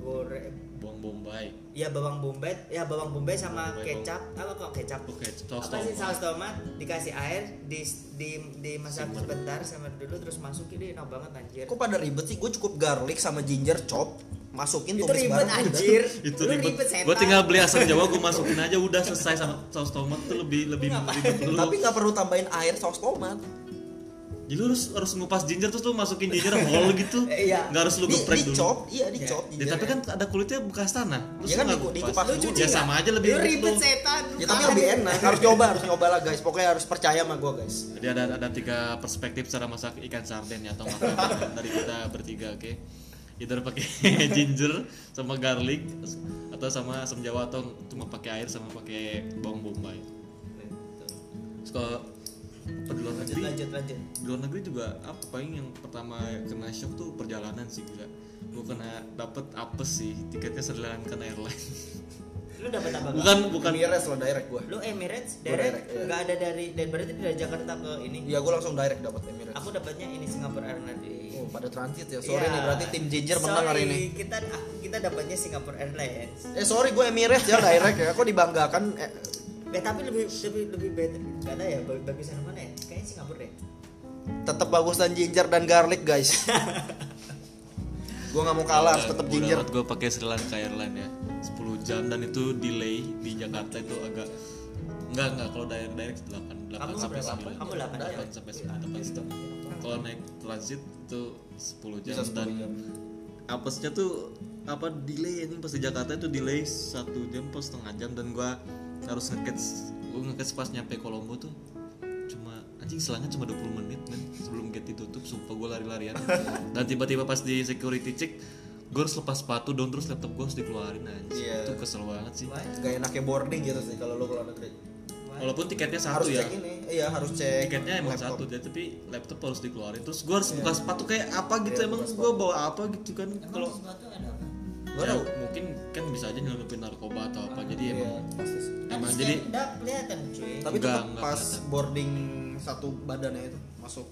goreng buang bombay ya bawang bombay ya bawang bombay sama Bombay, kecap apa kok kecap oke saus apa sih tomat saus tomat dikasih air di di dimasak sebentar sama dulu terus masukin deh enak banget anjir kok pada ribet sih gue cukup garlic sama ginger chop masukin itu tumis ribet bareng udah. anjir itu Lu ribet, setan. gue tinggal beli asam jawa gue masukin aja udah selesai sama saus tomat tuh lebih lebih tapi ribet dulu nggak perlu tambahin air saus tomat jadi lu harus harus ngupas ginger terus lu masukin ginger whole gitu Eh, iya. nggak harus lu di, geprek di dulu chop iya di chop ya, tapi kan ada kulitnya bekas Iya tanah terus Ya lu kan nggak diku- kupas. dikupas lu dulu. cuci ya sama aja lebih lu ribet tuh. setan kan- ya tapi lebih enak harus coba harus nyoba lah guys pokoknya harus percaya sama gue guys Jadi ada ada tiga perspektif cara masak ikan sarden ya atau makanan dari kita bertiga, oke? Either pakai ginger sama garlic atau sama asam jawa atau cuma pakai air sama pakai bawang bombay. Terus kalau ke luar lanjut negeri, lanjut lanjut di luar negeri juga apa paling yang pertama kena shock tuh perjalanan sih gila. Gue kena dapet apes sih tiketnya selangkan airline. lu dapat apa bukan bukan Emirates lo direct gue lu Emirates Gua direct direct, iya. nggak ada dari dari berarti dari Jakarta ke ini ya Iya. gue langsung direct dapat Emirates aku dapatnya ini Singapore Airlines di oh pada transit ya sorry Iya. nih berarti tim ginger menang hari Sorry, ini kita aku- kita dapatnya Singapore Airlines eh sorry gue Emirates ya direct ya kok dibanggakan eh, Ya, tapi lebih lebih lebih beda nggak tahu ya bag- bagusan mana ya kayaknya Singapura deh tetap bagusan ginger dan garlic guys gua nggak mau kalah harus tetap ginger gue pakai Sri Lanka Airline ya 10 jam dan itu delay di Jakarta itu agak enggak enggak kalau direct direct 8 Kamu 8 sampai berapa? 9 Kamu 8 ya? 8 sampai 9 8 jam kalau naik transit itu 10 jam Bisa 10 dan jam. apesnya tuh apa delay ini pas di Jakarta itu delay satu jam pas setengah jam dan gua harus ngekets gua ngekets pas nyampe Kolombo tuh cuma anjing selangnya cuma 20 menit men sebelum gate ditutup sumpah gua lari-larian dan tiba-tiba pas di security check gua harus lepas sepatu down terus laptop gua harus dikeluarin anjing Iya. itu kesel banget sih gak enaknya boarding gitu sih kalau lu keluar negeri walaupun tiketnya satu harus ya cek ini iya harus cek tiketnya emang laptop. satu jadi tapi laptop harus dikeluarin terus gue harus buka sepatu kayak apa gitu Iya, emang buka gue bawa apa gitu kan kalau sepatu ada apa? Gak ya, tahu. mungkin kan bisa aja nyelundupin narkoba atau apa jadi Iya, emang pasti sih. emang Tapi jadi nggak kelihatan cuy tapi Enggak, tetap enggak pas kelihatan. boarding satu badannya itu masuk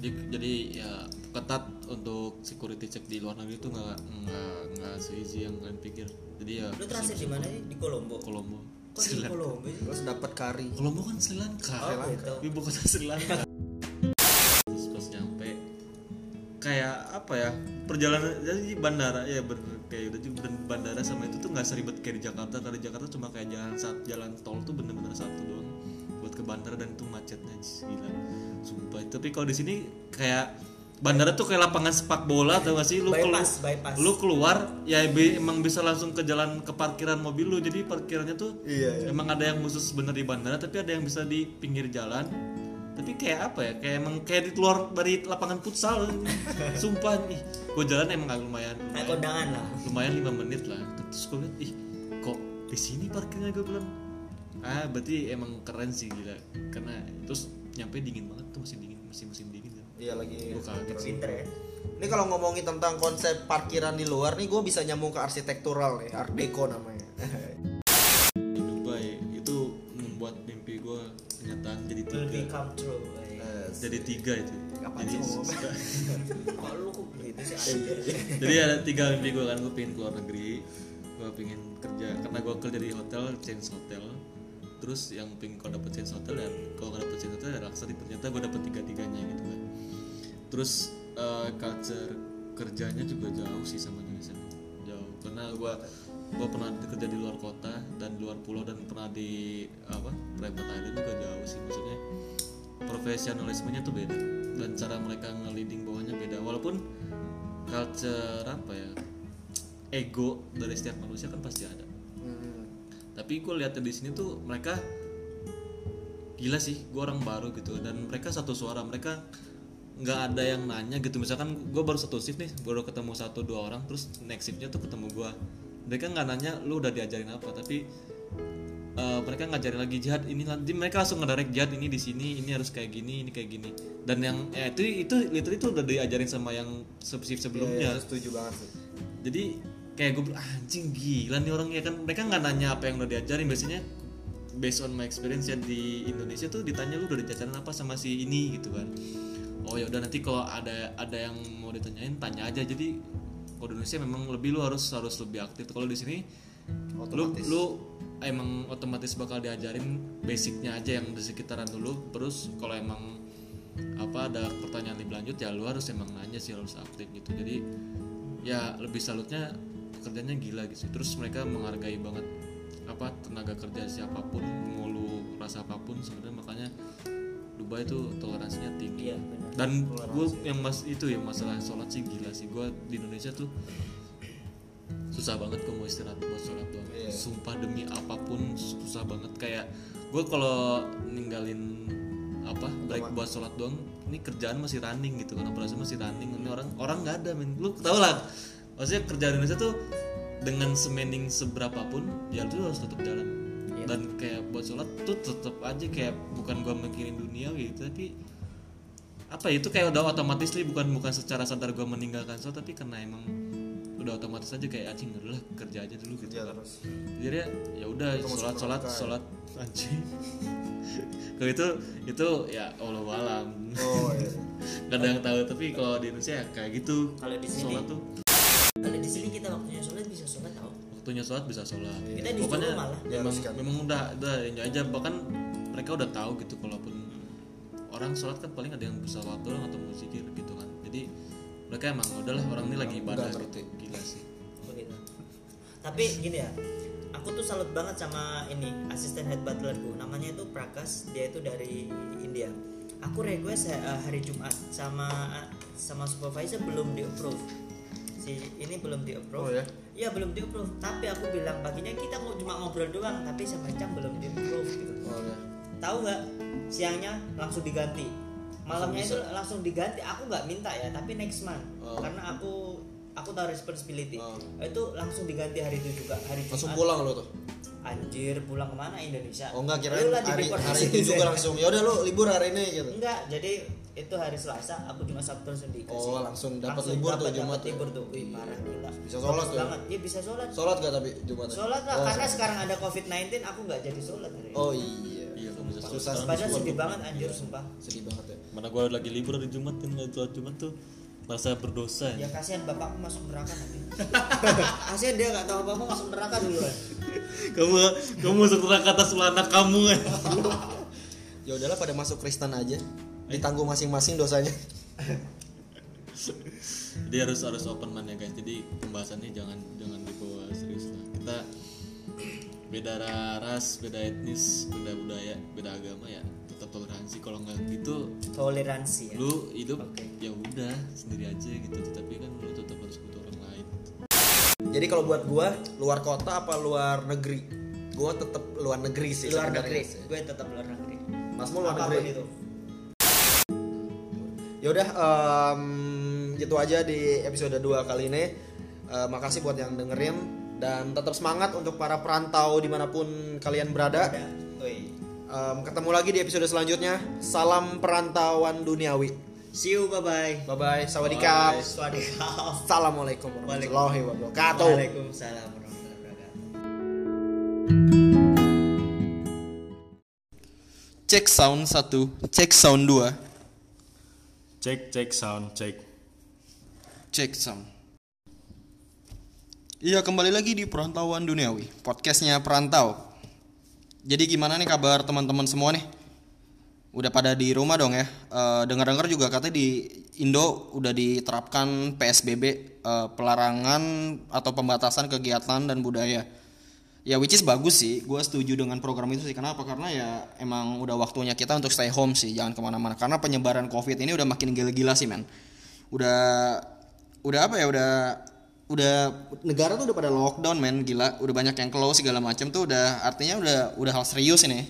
di- jadi ya ketat untuk security check di luar negeri itu nggak nggak nggak seizin yang kalian pikir jadi ya lu transit di sip-sip mana sih di Kolombo Kolombo kok Sri di Lanka. Kolombo sih? terus dapat kari Kolombo kan Sri Lanka Oh, gitu. ibu kota Sri Lanka terus pas nyampe kayak apa ya perjalanan jadi bandara ya bener kayak udah juga dan bandara sama itu tuh nggak seribet kayak di Jakarta karena di Jakarta cuma kayak jalan sat, jalan tol tuh bener-bener satu doang buat ke bandara dan itu macetnya jis, gila sumpah tapi kalau di sini kayak bandara tuh kayak lapangan sepak bola atau nggak sih lu kelu- bypass bypass lu keluar ya be- emang bisa langsung ke jalan ke parkiran mobil lu jadi parkirannya tuh Iya, iya. emang ada yang khusus bener di bandara tapi ada yang bisa di pinggir jalan tapi kayak apa ya kayak emang kayak di keluar dari lapangan futsal sumpah nih gue jalan emang agak lumayan kayak lumayan, kondangan lah lumayan lima menit lah terus gue liat ih kok di sini parkirnya gue bilang ah berarti emang keren sih gila karena terus nyampe dingin banget tuh masih dingin masih musim dingin kan iya lagi gue kaget sih pinter ya ini kalau ngomongin tentang konsep parkiran di luar nih gue bisa nyambung ke arsitektural nih art deco namanya di Dubai itu membuat mimpi gue kenyataan jadi will tiga become true eh. jadi tiga itu Kapan jadi, sih ngomong? kok lu kok begitu sih jadi ada tiga mimpi gue kan gue pengen keluar negeri gue pengen kerja karena gue kerja di hotel change hotel terus yang pengen gue dapet change hotel dan kalau gak dapet change hotel ya raksa ternyata gue dapet tiga tiganya gitu kan terus eh, culture kerjanya juga jauh sih sama Indonesia jauh karena gue gue pernah kerja di luar kota dan di luar pulau dan pernah di apa private island juga jauh sih maksudnya profesionalismenya tuh beda dan cara mereka nge-leading bawahnya beda walaupun culture apa ya ego dari setiap manusia kan pasti ada Hmm, tapi gue lihat di sini tuh mereka gila sih gue orang baru gitu dan mereka satu suara mereka nggak ada yang nanya gitu misalkan gue baru satu shift nih baru ketemu satu dua orang terus next shiftnya tuh ketemu gue mereka nggak nanya lu udah diajarin apa tapi eh, mereka ngajarin lagi jihad ini nanti mereka langsung ngedirect jihad ini di sini ini harus kayak gini ini kayak gini dan yang eh, itu itu literally itu udah diajarin sama yang shift sebelumnya Iya, setuju banget sih jadi kayak gue bilang "Ah, anjing gila nih orang ya kan mereka nggak nanya apa yang udah diajarin biasanya based on my experience ya di Indonesia tuh ditanya lu udah diajarin apa sama si ini gitu kan oh ya udah nanti kalau ada ada yang mau ditanyain tanya aja jadi kalau di Indonesia memang lebih lu harus harus lebih aktif kalau di sini Otomatis. lu lu emang otomatis bakal diajarin basicnya aja yang di sekitaran dulu terus kalau emang apa ada pertanyaan lebih lanjut ya lu harus emang nanya sih harus aktif gitu jadi ya lebih salutnya kerjanya gila gitu terus mereka menghargai banget apa tenaga kerja siapapun mau lu rasa apapun sebenarnya makanya Dubai itu toleransinya tinggi iya benar dan gue yang mas itu yang masalah sholat sih gila sih gue di Indonesia tuh susah banget gue mau istirahat buat sholat doang Iya. sumpah demi apapun susah banget kayak gue kalau ninggalin apa break buat sholat doang ini kerjaan masih running gitu kan operasi masih running ini orang orang nggak ada men lu tau lah maksudnya kerjaan Indonesia tuh dengan semending seberapapun ya lu harus tetap jalan Iya. dan kayak buat sholat tuh tetap aja kayak bukan gue mikirin dunia gitu tapi apa ya, itu kayak udah otomatis li bukan bukan secara sadar gue meninggalkan so tapi karena emang udah otomatis aja kayak anjing udah lah, kerja aja dulu gitu Kerja Iya, kan terus jadi ya ya udah Terus sholat sholat berangkat. sholat anjing kalau itu itu ya allah alam oh iya gak ada yang tahu tapi kalau di Indonesia ya kayak gitu Kalau di sini- sholat tuh kalau di sini kita waktunya sholat bisa sholat tau waktu waktunya sholat bisa sholat Gitu. Kita disuruh pokoknya ya, malah. memang Diharuskan. memang udah udah ini aja bahkan mereka udah tahu gitu kalaupun orang sholat kan paling ada yang bersalawat doang atau mau zikir gitu kan jadi mereka emang udahlah orang ini lagi ibadah Udah gitu gila sih begitu tapi gini ya aku tuh salut banget sama ini asisten head butlerku namanya itu Prakas dia itu dari India aku request eh, hari Jumat sama sama supervisor belum di approve si ini belum di approve Oh, ya? Iya, belum di approve tapi aku bilang paginya kita mau cuma ngobrol doang tapi semacam belum di approve gitu Oh, ya. tahu nggak siangnya langsung diganti malamnya itu Langsung langsung diganti aku nggak minta ya tapi next month Oh. karena aku aku tahu responsibility Oh. itu langsung diganti hari itu juga hari Langsung Jumat. pulang lo tuh. anjir pulang kemana Indonesia Oh enggak kirain Lu lah di hari Bangkok. hari itu juga langsung. Ya udah lu libur hari ini gitu. enggak jadi itu hari Selasa aku cuma Sabtu langsung dikasih Oh, langsung dapat Langsung libur tuh dapat- Jumat dapat tuh. libur tuh Wih, parah gila Bisa sholat Bagus tuh ya? banget iya bisa sholat Sholat gak tapi Jumat? sholat lah Oh, karena sholat. sekarang ada COVID-19 aku nggak jadi sholat hari ini Oh iya. iya kamu bisa Susah sholat padahal Gua- sedih gua- banget anjir sumpah Sedih banget ya. mana gua lagi libur hari Jumat kan nggak sholat Jumat tuh merasa berdosa Iya. Ya ya kasihan bapakku masuk neraka nanti. kasihan dia nggak tahu bapakku masuk neraka duluan. kamu kamu masuk neraka atas ulah anak kamu ya Ya udahlah pada masuk Kristen aja. Ditanggung masing-masing dosanya. jadi harus harus open mind ya guys jadi pembahasannya jangan jangan dibawa serius lah kita beda ra- ras beda etnis beda budaya beda agama ya tetap toleransi kalau nggak gitu Toleransi ya. lu hidup Oke. ya udah sendiri aja gitu tapi kan lu tetap harus butuh orang lain Jadi kalau buat gua luar kota apa luar negeri? Gua tetap luar negeri sih. luar sebenarnya negeri. sih. Gue tetap luar negeri. Masmu luar Apapun negeri. itu. Ya udah em, gitu aja di episode 2 kali ini. Eh, makasih buat yang dengerin dan tetap semangat untuk para perantau dimanapun kalian berada. Ada. Woi. Em, ketemu lagi di episode selanjutnya. Salam perantauan duniawi. See you bye bye. Bye bye. Sawadikap. Swadikap. Assalamualaikum warahmatullahi wabarakatuh. Waalaikumsalam warahmatullahi wabarakatuh. Cek sound 1, cek sound 2, Cek cek sound cek. cek sound. Iya, kembali lagi di Perantauan Duniawi, podcastnya Perantau. Jadi gimana nih kabar teman-teman semua nih? Udah pada di rumah dong ya? Eh, Dengar-dengar juga katanya di Indo udah diterapkan PSBB, eh, pelarangan atau pembatasan kegiatan dan budaya. Ya which is bagus sih, gue setuju dengan program itu sih. Kenapa? Karena ya emang udah waktunya kita untuk stay home sih, jangan kemana-mana. Karena penyebaran COVID ini udah makin gila-gila sih men. Udah, udah apa ya? Udah, udah negara tuh udah pada lockdown men, gila. Udah banyak yang close segala macam tuh udah artinya udah udah hal serius ini.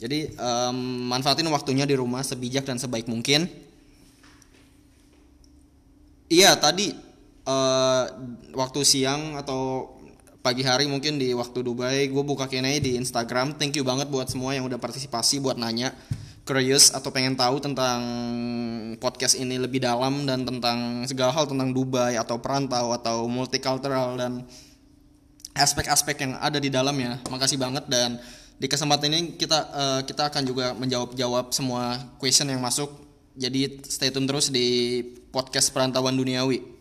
Jadi em, manfaatin waktunya di rumah sebijak dan sebaik mungkin. Iya tadi eh, waktu siang atau pagi hari mungkin di waktu Dubai gue buka kenanya di Instagram. Thank you banget buat semua yang udah partisipasi buat nanya curious atau pengen tahu tentang podcast ini lebih dalam dan tentang segala hal tentang Dubai atau perantau atau multicultural dan aspek-aspek yang ada di dalamnya. Makasih banget dan di kesempatan ini kita eh, kita akan juga menjawab-jawab semua question yang masuk. Jadi stay tune terus di podcast Perantauan Duniawi.